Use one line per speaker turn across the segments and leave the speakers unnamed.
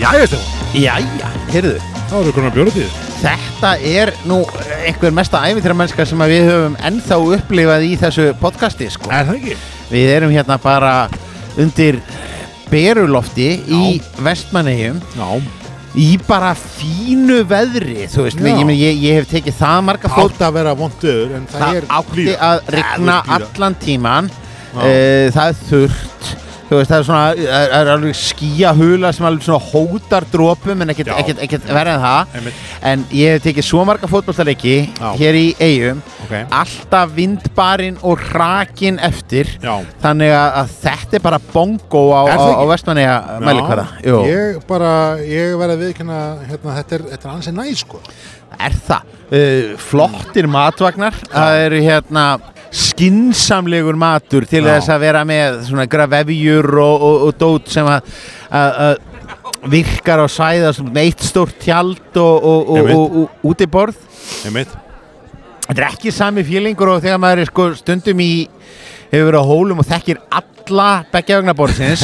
Jæja, Stefán,
Jæja, heyrðu,
þá erum við konar bjóratið
þetta er nú einhver mesta æfintramennska sem að við höfum ennþá upplifað í þessu podcasti sko.
Er það ekki?
Við erum hérna bara undir berulofti í vestmannegjum
Já
í bara fínu veðri, þú veist,
Já.
ég, meina, ég, ég hef tekið það marga
Það
fót
átti að vera vondur en það,
það
er
átti
blíða.
að
Það
rigna
er blíða.
allan tíman
Já.
uh, það er þurrt þú veist, það er svona það er alveg skíahula sem alveg svona hótar drópum en ekkert,
Já.
ekkert, ekkert verið en það
Einmitt.
en ég hef tekið svo marga fótballtaleiki
Já.
hér í eigum
Ok.
alltaf vindbarinn og hrakin eftir
Já.
þannig að, að þetta er bara bongo á,
Er
á,
það
á
ekki?
vestmanni að mæli hverða
Ég bara, ég verið að viðkynna hérna, þetta er, þetta er ansi næ sko
er það uh, flottir matvagnar það eru hérna skinsamlegur matur til
Já.
þess að vera með svona gravefjur og, og, og dót sem að, að, að virkar á sæða svona eitt stórt tjald og, og, og,
Einmitt.
og, og útiborð
Einmitt
þetta er ekki sami fílingur og þegar maður er sko stundum í hefur verið á hólum og þekkir alla beggjaugnaborðsins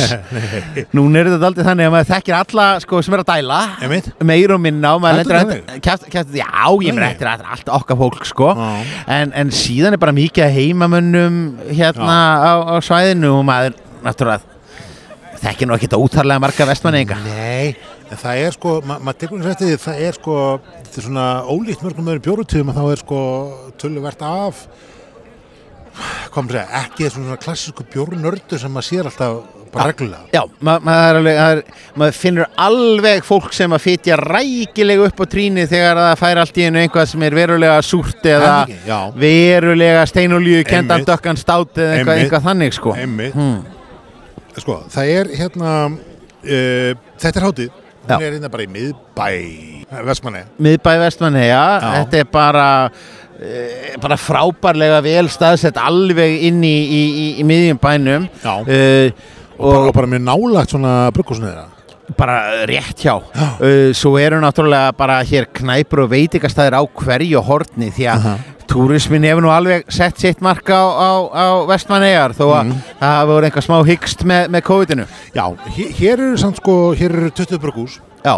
núna er þetta aldrei þannig að maður þekkir alla sko, sem er að dæla
Einmitt.
meir og minna og maður
Heldur
lendur að
þannig?
kæft, kæft, já, ég meina
Nei.
þetta er allt okkar fólk sko.
Já.
en, en síðan er bara mikið af heimamönnum hérna á, á svæðinu og maður náttúrulega þekkir nú ekkert ótarlega marga vestmanninga
Nei, en það er sko, ma- maður tekur eins og eftir því, það er sko, þetta er svona ólíkt mörgum öðrum bjórutíðum að þá er sko töluvert af, kom að segja, ekki þessum svona klassísku bjórnördu sem maður sér alltaf bara reglulega.
Já, ma maður, er alveg, maður, maður finnur alveg fólk sem að fitja rækilega upp á tríni þegar það fær allt í einu einhvað sem er verulega súrt eða
Er það ekki? Já.
verulega steinolíu kendan
Einmitt.
dökkan stát eða eitthvað,
Einmitt.
eitthvað þannig sko
Einmitt. Sko, það er hérna, uh, þetta er hátíð,
Já.
hún er hérna bara í miðbæ, Vestmanni.
Miðbæ Vestmanneja,
Já.
þetta er bara eh, bara frábærlega vel staðsett alveg inn í, í, í, í miðjum bænum
Já.
Eh,
Og, bara mjög nálagt svona brugghúsinu þeirra.
bara rétt hjá uh, svo eru náttúrulega bara hér knæpur og veitingastæðir á hverju horni því að uh
Aha.
túrismin hefur nú alveg sett sitt marka á, á, á vestmannegar þó að það hafa voru einhver smá hyggst með, með COVID-inu
Já, hér, hér eru samt sko, hér eru 20 brugghús.
já,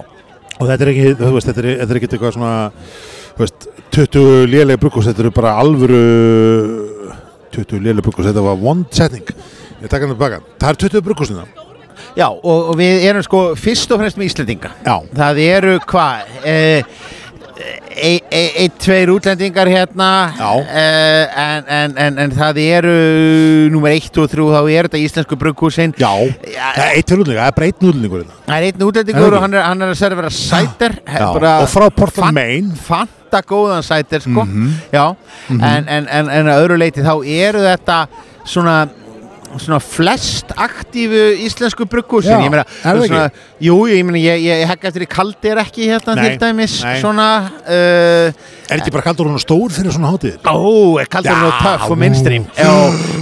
og þetta er ekki, þú veist, þetta er, þetta er ekki eitthvað svona, þú veist, 20 léleg brugghús, þetta eru bara alvöru 20 léleg brugghús, þetta var one setning, ég taka hann tilbaka það er 20 brugghúsina,
já og, og við erum sko fyrst og fremst með Íslendinga
Já.
það eru hvað uh, Einn, ein, ein, tveir útlendingar hérna
Já.
eh, en, en, en, en það eru númer 1 og 3 þá er þetta íslensku brugghúsin
já,
Já.
það er eitt útlendingur, það er bara eitt útlendingur hérna.
Það er einn
Er
útlendingur
það
og hann er, hann er að servera sætir
Já, og frá Portland, Maine.
Fanta góðan sætir sko Já, en, en, en, en að öðru leiti þá eru þetta svona svona flest aktífu íslensku brugghúsin
Já,
ég meina,
er það
svona, jú, jú, ég meina ég, ég, ég hekka eftir í kaldir ekki hérna
Nei,
til dæmis
nei.
svona uh,
er ekki bara kaldur hún stór fyrir svona hátíðir
Ó, er kaldur
Já.
og töff og mainstream Já,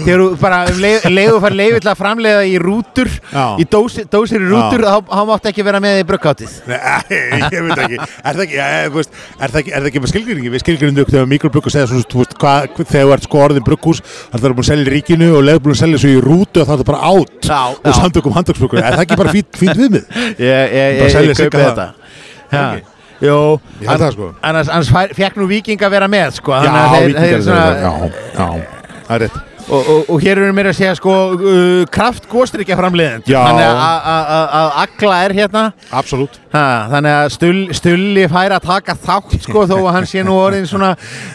þegar þú bara um leið- leið og fær leiðvill að framleiða í rútur
Já.
í dósir, dósir í rútur þá, þá máttu ekki vera með í brugghátið
Nei, ég veit ekki, er það ekki, er, veist, er það ekki, er það ekki með skilgrinningi, við skilgrinnum okkur þegar mikrobrugghús eða svona, þú veist, hvað, þegar þú ert sko orðin brugghús, það er búin að selja í ríkinu og leður búin að selja svo í rútu og það er bara átt
Já, já.
og samtökum handtöksbrugghús, er það ekki bara fínt, fínt viðmið?
ég,
Bara
ég, ég,
selja
ég
Sigga
kaupi
það.
þetta
Það ekki?
Já. Jó,
Ég held það, sko.
annars, annars fær- fékk nú viking að vera með sko,
Já,
þannig að þeir-
vikingar
þeir
eru
svona-
það, já, já, það er rétt
og, og, og hér erum við að segja sko, uh, kraft góstríkja framleiðend
Já.
þannig að- að- að að- að agla er hérna
Absolutt
ha, þannig að stull, stulli fær að taka þátt sko, þó að hann sé nú orðin svona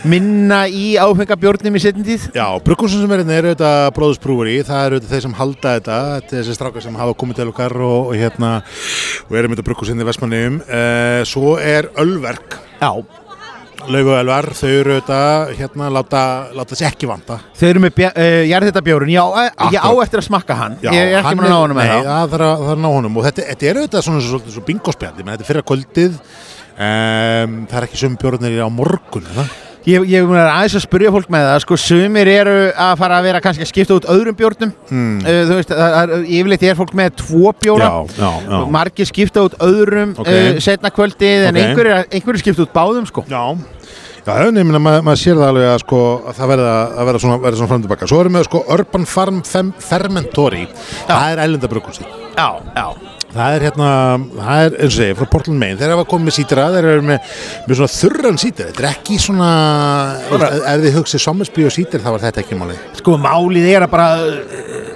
minna í áfengabjórnum í setjum tíð
Já, brugghúsin sem er hérna eru þetta bróðusbrúri það eru þetta þeir sem halda þetta þetta er þessi strákar sem hafa komið til okkar og, og hérna og erum þetta brugghúsinni í Vestmannum uh, Svo er Ölverk
Já,
Lauf og Ölver, þau eru þetta hérna láta, láta þessi ekki vanda
þau eru með bja- uh, jarðhitabjórn, já, eh, ég á
Akkurat.
eftir að smakka hann
Já,
ég er ekki
hann
búin að ná honum
Nei,
með þá
það þarf að, það er að ná honum og þetta, þetta er auðvitað svona svo, svo, svo bingospjandi menn þetta er fyrra kvöldið um, það er ekki sömu bjórnir á morgun er það?
Ég, ég mun að aðeins að spyrja fólk með það sko, sumir eru að fara að vera kannski að skipta út öðrum bjórnum
Hmm.
mm. uh, þú veist, það er, yfirleitt er fólk með tvo bjóra
Já, já, já.
margir skipta út öðrum
Ok.
okay. uh, setna kvöldið en
Ok.
einhverjir einhverjir skipta út báðum sko
Já, já nefnir maður mað sér það alveg að, sko, að það verða að verða svona, verða svona fram og tilbaka. Svo erum við sko Urban Farm Fem Fermentori, það er ælenda brugghúsi.
já, já,
Það er hérna, það er eins og segja, frá Portland Maine, þeir hafa komið með sítra, þeir eru með, með svona þurran sítra, þetta er ekki svona, ef, ef þið hugsið sommersby og sítra þá var þetta ekki málið.
Sko málið er að bara uh,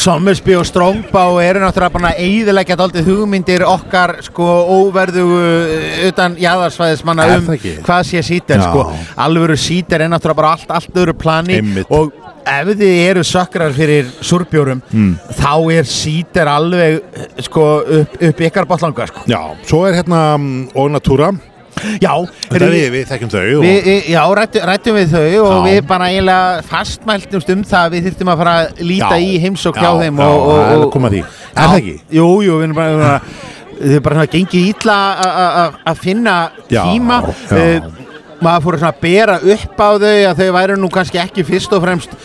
Sommersby og Strómbá eru náttúrulega bara eðilegja daldið hugmyndir okkar sko óverðugu uh, utan jáðarsvæðismanna
Er
um
það ekki?
hvað sé sítar
Já.
sko alvöru sítar er náttúrulega bara allt, allt öðru plani
Einmitt.
og ef þið eru sökrar fyrir súrbjórum
Hmm.
þá er sítar alveg uh, sko upp, upp ykkar botlanga sko
Já, svo er hérna mm, og Natura,
Já,
þetta er við, við þekkjum þau og
Við, við- já, rættum, rættum við þau og
Já.
við bara eiginlega fastmæltumst um það að við þyrftum að fara að líta
Já.
í heimsók
Já,
hjá þeim
já,
og, og,
það er
og,
að koma að því.
Já,
Er það ekki?
Jú, jú, við erum bara, við erum bara þau er bara svona gengið ítla að finna
Já,
tíma
já.
Eh, maður fór svona að bera upp á þau að þau væri nú kannski ekki fyrst og fremst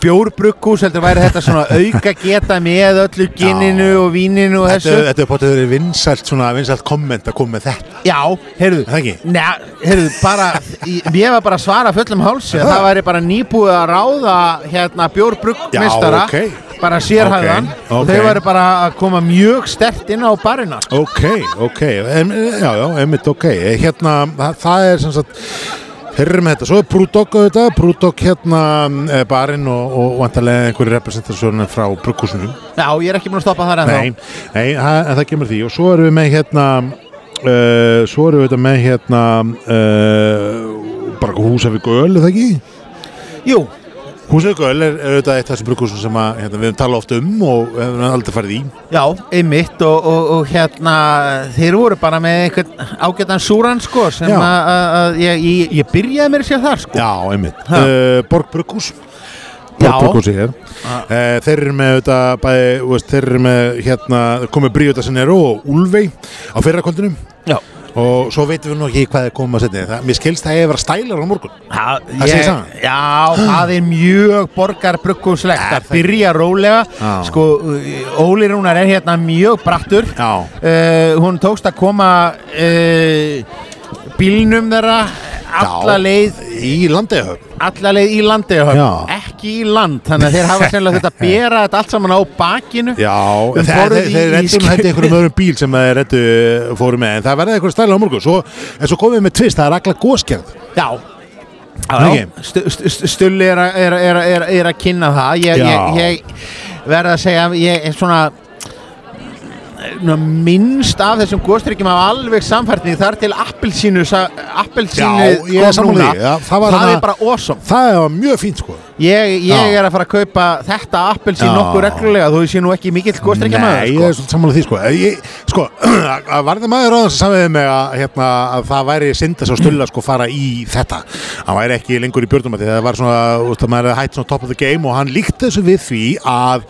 bjórbrukkus, heldur væri þetta svona auka geta með öllu ginninu og víninu og
þetta,
þessu
þetta er potið verið vinsalt, svona vinsalt komment að koma með þetta.
Já, heyrðu,
Það ekki?
Nei, heyrðu, bara, ég ég var bara að svara fullum hálsi að
Það?
það væri bara nýbúið að ráða hérna bjórbruggmistara
Já, ókei.
bara sérhæðan
Ókei,
og
ókei.
þau væri bara að koma mjög stert inn á barina sko.
Ok, ok, em, já, já, einmitt ok, hérna, það, það er sem sagt, þeir eru með þetta, svo er Brúdók auðvitað, Brúdók hérna, eh, barinn og, og vantarlega einhverju representasjónu frá Brúkúsunum.
Já, ég er ekki búin að stoppa þar ennþá
Nei, nei það, en það kemur því og svo erum við með hérna uh, svo erum við þetta með hérna uh, bara húsafi göl, er það ekki?
Jú,
Húsafi göl er er auðvitað eitt af þessum brukusum sem að, hérna, við höfum talað oft um og hefum aldrei farið í
já, einmitt og, og, og hérna, þeir voru bara með einhvern ágætan súran sko sem
Já.
að- að að ég, ég, ég byrjaði mér sér þar sko
Já, einmitt
Ha.
uh, Borg brukus
Já.
Borgbrukhúsi hér uh, Þeir eru með þetta bæði, þú veist, þeir eru með hérna, komið Bríota sem eru og Úlvei á fyrrakvöldinu
Já,
og svo veitum við nú ekki hvað er komið að setja það, mér skilst það hefur verið stælar á morgun
Það
Það segir sagan.
Já, það er mjög borgarbrukkúslegt
Er
að
það
byrja rólega
Já.
Sko, Óli Rúnar er hérna mjög brattur
Já.
uh, Hún tókst að koma uh, bílnum þeirra alla
Já.
leið,
í landeigahöfn
alla leið í landi
Já.
ekki í land, þannig að þeir hafa sennilega þetta að bera þetta allt saman á bakinu
Já,
Um
þeir,
borð
þeir,
í-
þeir
í
rettum
skip.
hætti einhverjum öðrum bíl sem þeir rettu fóru með en það verði eitthvað stæla á morgun svo, en svo komum við með tvist, það er agla góskerð
Já
Ekki?
Stu- stu- stu- Stulli er, að- er, að- er, að- er, er að kynna það ég,
Já.
ég, ég verð að segja ég er svona Ná, minnst af þessum góðstrykkjum af alveg samfærtni þar til appelsínu sa- appelsínu
Já, ég er sammála því. Já, það var
það
hana-
er bara awesome
það var mjög fínt sko
ég, ég
Já.
er að fara að kaupa þetta appelsín
Já.
nokkuð reglulega þú sé nú ekki mikill góðstrykkjamaður
Nei, ég er svolítið sammála því sko ég, Sko, að varði maður á þess að samvegði með að, hérna, að það væri syndas á stulla sko fara í þetta Hann væri ekki lengur í björnum að því það var svona, úst, maður hefði hætt svona top of the game og hann líkti þessu við því að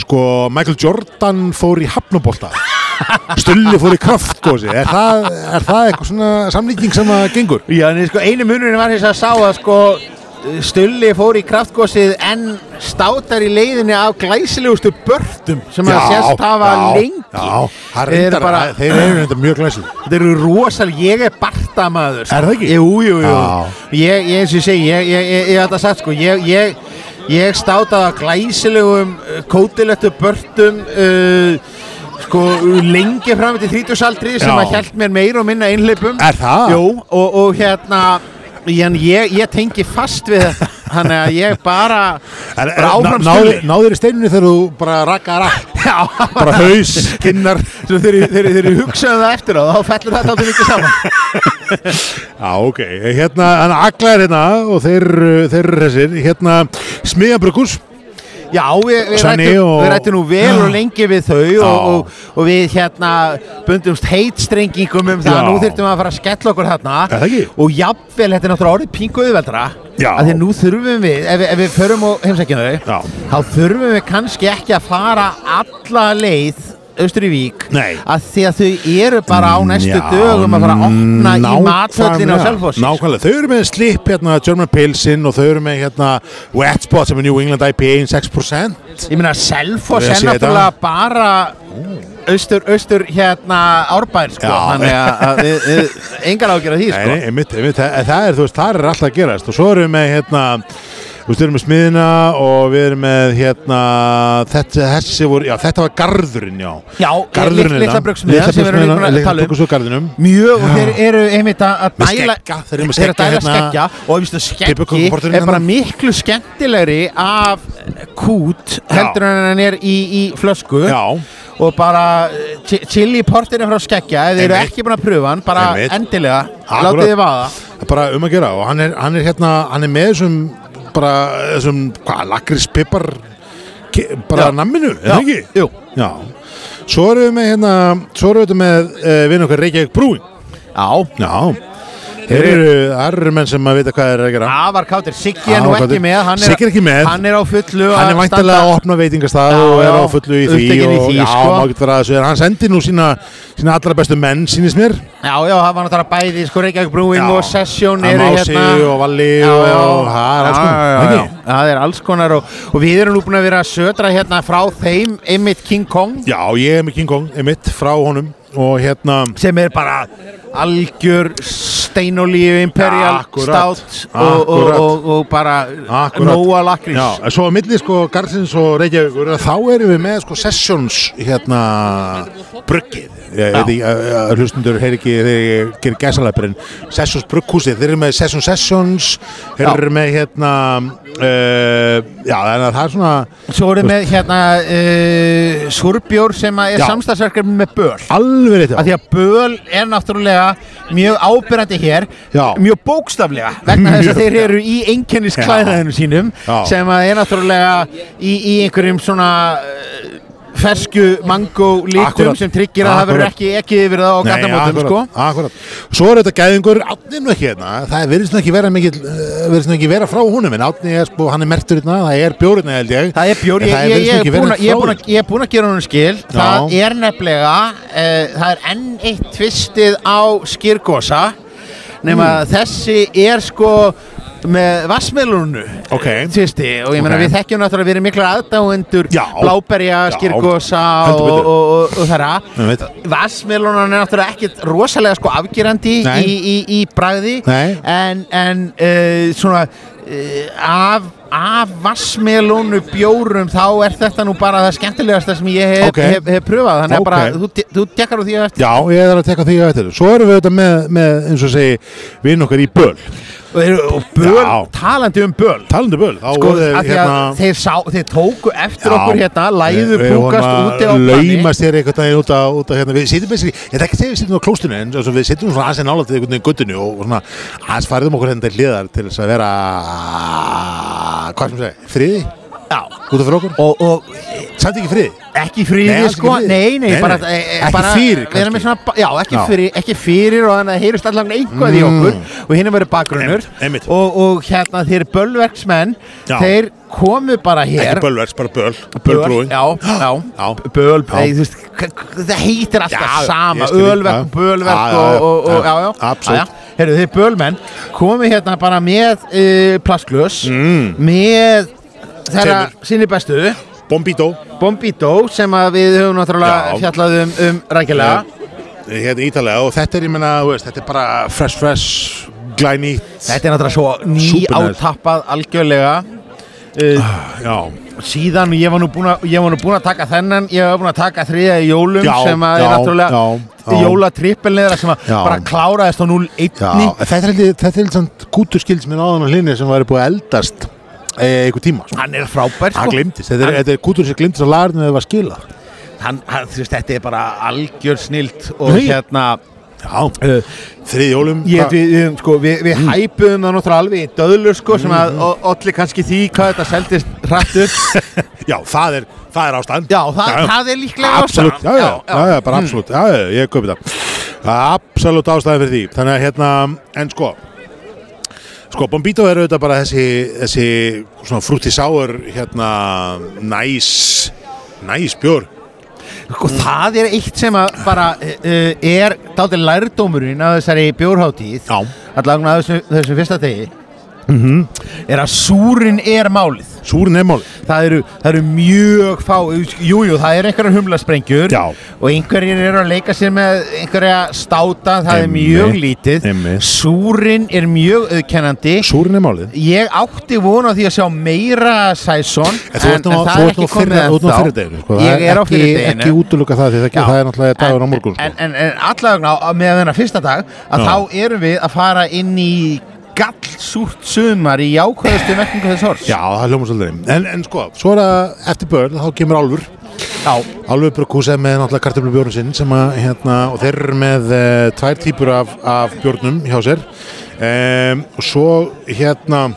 sko Michael Jordan fór í hafnabólta Stulli fór í kraftgósi er það, er það eitthvað svona samlíking sem að gengur?
Já, en sko, einu munurinn var þess að sá að sko Stulli fór í kraftgósið en státar í leiðinni af glæsilegustu börnum sem að sérst hafa lengi
Já, það
Þeir
reyndar,
eru bara,
þeir eru reyndar mjög glæsileg
Þeir eru rosal, ég er bartamaður sko.
Er það ekki?
Jú, jú, jú
Já.
Ég, ég eins og ég segi, ég, ég, ég, ég þetta sagt sko Ég, ég, ég státaði að glæsilegum uh, kótilettu börnum uh, sko lengi fram til 30 aldri sem
Já.
að hjælt mér meir og minna einhleipum
Er það?
Jú, og, og hérna en ég, ég tengi fast við þetta þannig að ég bara,
En,
bara áfram
náður,
stulli
náður í steinunni þegar þú bara rakkaðar að
Já,
bara haus, kinnar
svo þegar ég- þegar ég- þegar ég hugsaði um það eftir á þá fellur þetta alltaf mikið saman
Já, ok, hérna, hann aglaðir hérna og þeir, uh, þeir eru þessir hérna, smiðabrukus
Já, við, við,
Svenni
rættum,
og-
við rættum nú vel og lengi við þau og,
Já.
og, og við hérna bundumst heitstrengingum um
Já.
það að nú þyrftum við að fara að skella okkur þarna
Er það ekki?
og jafnvel, þetta er náttúrulega orðið pinguðveldra
Já.
að því nú þurfum við, ef, við- ef við förum og heimsækjum þau
Já.
þá þurfum við kannski ekki að fara alla leið austur í Vík
Nei.
að því að þau eru bara á næstu
Já,
dögum að fara að opna í
nákvæmlega.
matföllin á Selfossi
Nákvæmlega, þau eru með slip hérna, German Pilsin og þau eru með hérna, Wet Spot sem er New England IPA in 6%
Ég meina Selfoss
Ég
er
sé
náttúrulega bara austur, austur hérna árbær sko,
Já.
þannig að- að við- við- engar ágjör að því
Nei,
sko
nei, einmitt, einmitt, það, það er, þú veist, það er alltaf að gerast og svo eru við með hérna Þú veist, við erum með smiðina og við erum með hérna, þetta, þessi voru, já, þetta var garðurinn, já.
Já,
Garðurinn hérna.
litla bruggsmiðjan sem við erum líka búin að tala um.
Litla bruggsmiðan,
mjög og
Já.
þeir eru einmitt að að
Með
dæla
skegga, þeir eru með
þeir eru að
skegga
dæla
hérna.
skeggja og viðstu skeggi
Piparkökuporturinn
er bara
hérna.
miklu skemmtilegri af eh, kút heldur en hann er í, í flösku
um. Já.
og bara eh, chi- chili porterinn frá skeggja ef þeir eru
Einmitt.
ekki búin að pröfa hann bara
Einmitt.
endilega
Akkurat.
látið þið vaða
Það er bara um að gera og hann er, hann er hérna, hann er með þessum, bara, þessum, hvað, lakrispipar, bara
Já.
namminu, er það ekki?
jú.
Já. Svo erum við með, hérna, svo erum við með uh, vinn okkar Reykjavík Brúin.
Já,
Já. Þeir eru, það eru menn sem að vita hvað þeir eru að gera.
afar káttir, Siggi er nú
Afar
ekki
kátir.
með hann
Siggi er ekki með.
Hann er á fullu
hann er
að
væntalega að
standa-
opna veitingastað
Já,
og er
já,
á fullu í því
upptekinn í
og
því,
já,
sko.
má ekki vera að þessu en hann sendir nú sína, sína allra bestu menn sínist mér
Já, já, það var náttúrulega bæði, sko, Reykjavík Brewing og Session
hann
eru
Ási og Valli
Já,
og,
já.
og það er alls
Já,
konar
já,
ekki?
já. það er alls konar og, og við erum nú búin að vera að södra hérna frá þeim einmitt King Kong
já, ég er með King Kong, einmitt, frá honum og hérna
sem er bara algjör steinolíu imperial
Akkurat,
stát og, og,
akkurat.
og, og bara
Akkurat.
nóa lakrís
Já, en svo að milli sko Garðsins og Reykjavíkur þá erum við með sko sessions hérna bruggið ég veit ekki, að- að hlustundur heyr ekki þegar ég gerir gæsalapurinn sessions brugghúsið, þeir eru með session sessions þeir
Já.
eru með hérna uh, já, þannig að það er svona
Svo erum við hérna uh, Súrbjór sem að er
Já.
samstagsverkefni með Böl
alveg rétt já.
að því að Böl er náttúrulega mjög ábyrrandi hér
Já.
mjög bókstaflega vegna þess að
Mjög,
þeir
já.
eru í einkennisklæðaðinu sínum
Já.
sem að er náttúrulega í, í einhverjum svona eh, fersku mango litum
Akkúrat.
sem tryggir að það verður
Akkúrat.
ekki ekki yfir það á
Nei,
gattamótum sko.
akkurat, akkurat. Svo er þetta gæðingur, Átni er nú ekki hérna Það virðist nú ekki vera mikið virðist nú ekki vera frá honum en Átni er, sko, hann er mertur hérna, það er bjórina held ég
Það er bjór,
En
ég,
það
ég,
virðist nú
ég,
ekki
er búinn
vera
að- ég, er
frá
búinn að- ég er búinn að gera honum skil Það
Já.
er nefnilega uh, Það er enn eitt tvistið á skýrgosa Nefn að
Hmm.
þessi er sko með vassmelunu
Ok.
tvisti eh, og ég meina
Ok.
við þekkjum náttúrulega við erum mikla aðdáendur
Já.
bláberja,
Já.
skýrgosa og,
Heldur betur.
og, og, og þeirra
Einmitt.
vassmelunan er náttúrulega ekkit rosalega sko afgerandi
Nei.
í, í, í bragði
Nei.
en, en uh, svona uh, af, af vassmelónu bjórum þá er þetta nú bara það skemmtilegasta sem ég hef,
Ok.
hef, hef pröfað þannig að
Ok.
bara, þú, te- þú tekkar á því á eftir
Já, ég er að teka því að eftir Svo erum við þetta með, með eins og segi vinn okkar í böl
og, þeir- og böl,
Já.
talandi um böl
Talandi böl, þá
sko,
voru
af því að þeir, sá, þeir tóku
hérna-
eftir
Já.
okkur hérna
Við-
læðu
við vorum
púkast
að
úti á
laumast þér einhvern veginn út að, út að hérna, við sitjum eins og ég ætla ekki að segja við sitjum á klóstunni en svo við sitjum svona aðeins nála til einhvern veginn guttinu og, og svona aðeins færðum okkur hérna til hliðar til þess að vera hvað sem segja, friði
Já.
út af fyrir okkur,
og, og
samt ekki friði
ekki friði
Nei, alls
sko,
ekki friði.
nei, nei,
Nei,
bara,
nei.
e, e,
Ekki
bara
fyrir,
við erum
kannski.
með svona, ba- já, ekki,
Já. Mm.
Fyrir, ekki fyrir og þannig að heyrist allan einhvað í okkur og hinn er verið bakgrunnur
Einmitt, einmitt.
og, og hérna þeir bölverksmenn
Já.
þeir komu bara hér
ekki bölvers, bara böl,
Böl-
bölbrúin
já, já,
Já.
böl
Já.
nei, þú veist, k- k- það heitir alltaf
Já,
sama,
ég skil,
ölverk,
já.
bölverk
Já, já,
og,
já,
og, og,
já,
já, já,
absolutt.
já, já. Heyrðu, þeir bölmenn komu hérna bara með uh, plastglös
Mm.
með þeirra sinni bestu
bombító,
Bombito sem að við höfum náttúrulega
Já.
fjallað um, um rækilega
hérna ítalega og þetta er, ég menna, þetta er bara fresh, fresh, glænýtt
Þetta er náttúrulega svo ný
Súpernæs.
átappað algjörlega uh,
já,
Síðan ég var nú búinn að- ég var nú búinn að taka þennan ég var búinn að taka þriða í jólum
Já,
sem að er
já,
náttúrulega
já, já.
jólatrippelniðra sem að
Já.
bara kláraðist á 0-1
Já, þetta er heldur þetta er heldur samt gútur skilds minn áðan á hlinni sem væri búið að eldast e, einhver tíma sko.
Hann er frábær sko
Hann glimtist, þetta er,
Hann-
þetta er gútur sem glimtist að lagarinu þegar það var skila
hann, hann, þú veist, Þetta er bara algjör snilt og
Nei.
hérna
Já,
uh,
þriðjólum
Ég, veit, við, við, sko, við, við hæpuðum það náttúrulega alveg í döðlur sko, sem að o- olli kannski því hvað þetta seldist hrætt upp
Já, það er, það er ástæðan
Já, Mm. það, það er líklega
Absolutt, já,
ástæðan.
já, já, já, bara absolutt, já, já, ég köpi það Absolutt ástæðan fyrir því Þannig að hérna, en sko Sko, Bombito er auðvitað bara þessi, þessi svona frútti sáur hérna, næs næs bjór
Sko, það er eitt sem að bara uh, er dálítið lærdómurinn af þessari bjórháttíð
Já.
allavega á þessu, þessum fyrsta degi Mhm. er að súrin er málið
Súrin er málið.
það eru, það eru mjög fá jújú, jú, það eru einhverjar humlasprengjur
Já.
og einhverjir eru að leika sér með einhverja státa, það er
Einmitt,
mjög lítið
einmitt.
súrin er mjög auðkennandi
Súrin er málið.
ég átti vona því að sjá meira sæson,
En þú ert nú- þú ert nú fyrir- þú ert nú á fyrirdeginu, sko. Það
ég er á
ekki-
fyrirdeginu
Ekki útluka það því það,
Já.
það er náttúrulega dagur á
En-
morgun. sko.
En, en, en allavegna á- með þennan fyrsta dag að
Já.
þá erum við að fara inn í gallsúrt sumar í jákvæðustu verkingu þess hors
Já, það er hljóma svolítið. En, en sko, svo er að eftir börn, þá kemur Álfur.
Já,
Álfur Brukúsa með náttúrulega kartöflubjórn sinn sem að, hérna, og þeir eru með e, tvær típur af, af bjórnum hjá sér ehm, og svo hérna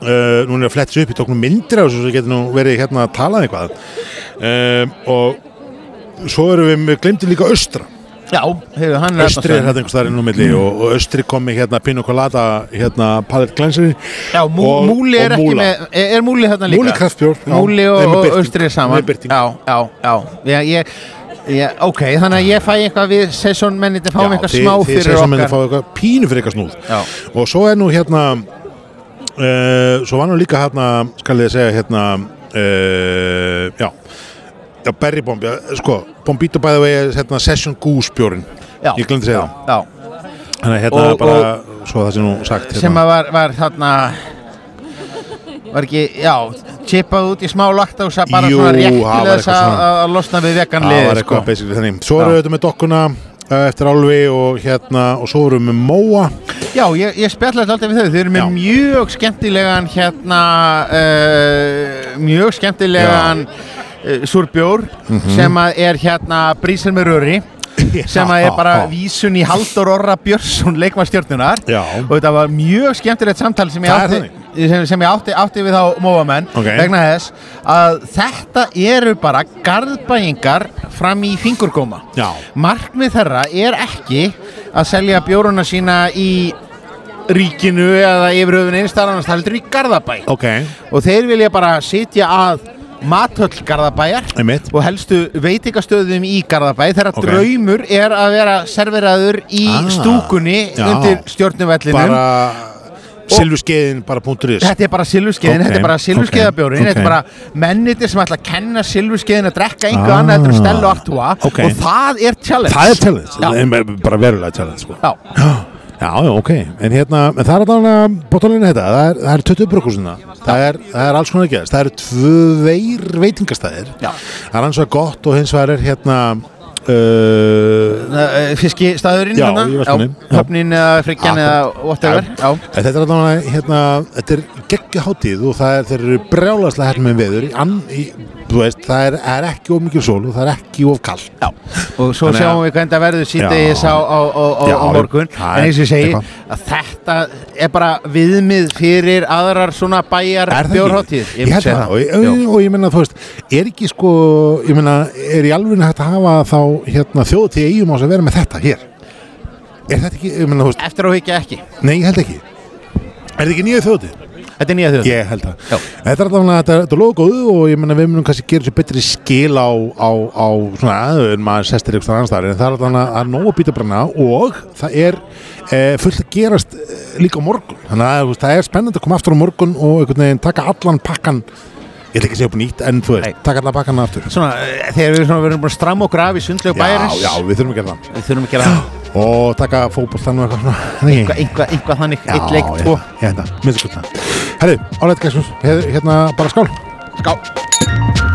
e, nú er ég að fletta sér upp, ég tók nú myndir af þessu svo ég geti nú verið hérna að tala um eitthvað ehm, og svo erum við, við glemdi líka Östra
já, hefur hann
Östri er hérna einhvers þar inn á
Mm.
milli og, og Östri kom með hérna Pino Colada hérna Pallet Glenseri
Já, mú,
og-
Múli er
og
ekki
Múla.
með Er, er Múli hérna líka?
Múli kraftbjór, já.
Múli og,
Nei, með
og
birting.
Austri er saman
Með birting.
Já, já, já, já ég, ég, Ok, þannig að ég fæ eitthvað við sesónmenniti fáum eitthvað smá fyrir
Þeir
okkar
fá eitthvað pínu fyrir eitthvað snúð
Já.
Og svo er nú hérna uh, Svo var nú líka hérna Skal ég segja hérna uh, Já Já, Berry Bomb, já, sko, Bombito by the way er hérna, Session Goose bjórin
Já,
Ég glemdi að segja það
já, já,
Þannig að hérna
Og-
bara, svo það sé nú sagt
sem
hérna.
að var, var þarna Var ekki, já Chippað út í smá laktása bara
Jú,
svona rétt
það
til
var
þess
eitthvað
að
svona.
að- að losna við
Það
veganlið
var
sko.
eitthvað basically þannig Svo eru
Já.
við auðvitað með dokkuna uh, eftir Álfi og hérna og svo eru við með Móa
Já, ég, ég spjallaði alltaf við þau, þau eru með
Já.
mjög skemmtilegan hérna, uh, mjög skemmtilegan uh, súrbjór
Mhm.
sem að er hérna brísir með röri sem að er bara vísun í Haldur Orra Björnsson leikmannstjörnunar
Já.
og þetta var mjög skemmtilegt samtal sem ég
Það er
átti, sem, sem ég átti, átti við á móamenn
Ok.
vegna þess að þetta eru bara garðbæingar fram í fingurgóma
Já.
markmið þeirra er ekki að selja bjóruna sína í ríkinu eða yfir höfun einstar annars, það heldur í Garðabæ
Ok,
og þeir vilja bara sitja að matöll Garðabæjar
einmitt
og helstu veitingastöðum í Garðabæ þeirra
Ok.
draumur er að vera serveraður í
Ah,
stúkunni
já.
undir stjórnuvellinum
Bara Silfuskeiðin bara punktur ís
Þetta er bara silfurskeiðin,
Ok,
þetta er bara silfurskeiðabjórin,
ok,
þetta er
ok.
bara mennitir sem ætla að kenna silfurskeiðin að drekka einhver
Ah,
annað heldur en stella og artúa
ok.
og það er challenge.
Það er challenge,
Já.
það er bara verulega challenge sko.
Já,
Já, já, ok En hérna, en það er allavega bóttalina þetta Það er, það er 20 brugghúsina það er, það er alls konar að gerast Það eru tveir veitingastæðir
Já.
Það er hans vegar gott og hins vegar er hérna uh,
Eh, fiskistæðurinn
Já,
þarna,
í Vestmannaeyjum.
hérna, já, höfnin eða friggjan eða
Akkurat.
whatever já.
en Þetta er allavega hérna Þetta er geggju hátíð og það er, þeir eru brjálagslega hérna með veður í, ann, í, þú veist, Það er, það er ekki of mikil sól og það er ekki of kall
Já. og svo
Þannig að-
sjáum við hvernig það verður síðdegis
Já.
á, á, á, á,
Já,
á morgun
það
en
er
eins og ég segi
eitthvað.
að þetta er bara viðmið fyrir aðrar svona
Er
bæjar
það ekki?
bjórháttíð
Ég held það, og,
Já.
og, og ég meina, þú veist, er ekki sko, ég meina, er í alveg hægt að hafa þá hérna, þjóðtíð eigum ás að vera með þetta hér? Er þetta ekki, ég meina, þú veist,
Eftir á higgja ekki,
nei, ég held ekki. Er þetta ekki nýju þjóðtíð?
þetta er nýja þjóð
Ég held það.
Já.
Þetta er allavega, þetta er- þetta er logo góðu og ég meina, við munum kannski gera þessu betri skil á, á, á svona aður en maður sestir ykkur annars þar, en það er allavega að það er nógu að býta brenna og það er e, fullt að gerast e, líka á morgun. Þannig að þú veist, það er spennandi að koma aftur á morgun og einhvern veginn taka allan pakkan Ég ætla ekki að segja upp nýtt, en þú veist,
Nei.
taka allan pakkan aftur.
Svona, eh, þegar við svona verðum búin að stramma og grafa í
Já,
sundlegu bæjarins
já, við þurfum að gera það.
Við þurfum að gera það,
Og taka fótbollstann og eitthvað svona. Nei.
eitthvað einhva, einhva þannig,
Já,
eitt leik,
ég-
tvo
Ég held það, minnstu kvöldan. Herru, álega, hérna bara skál.
Skál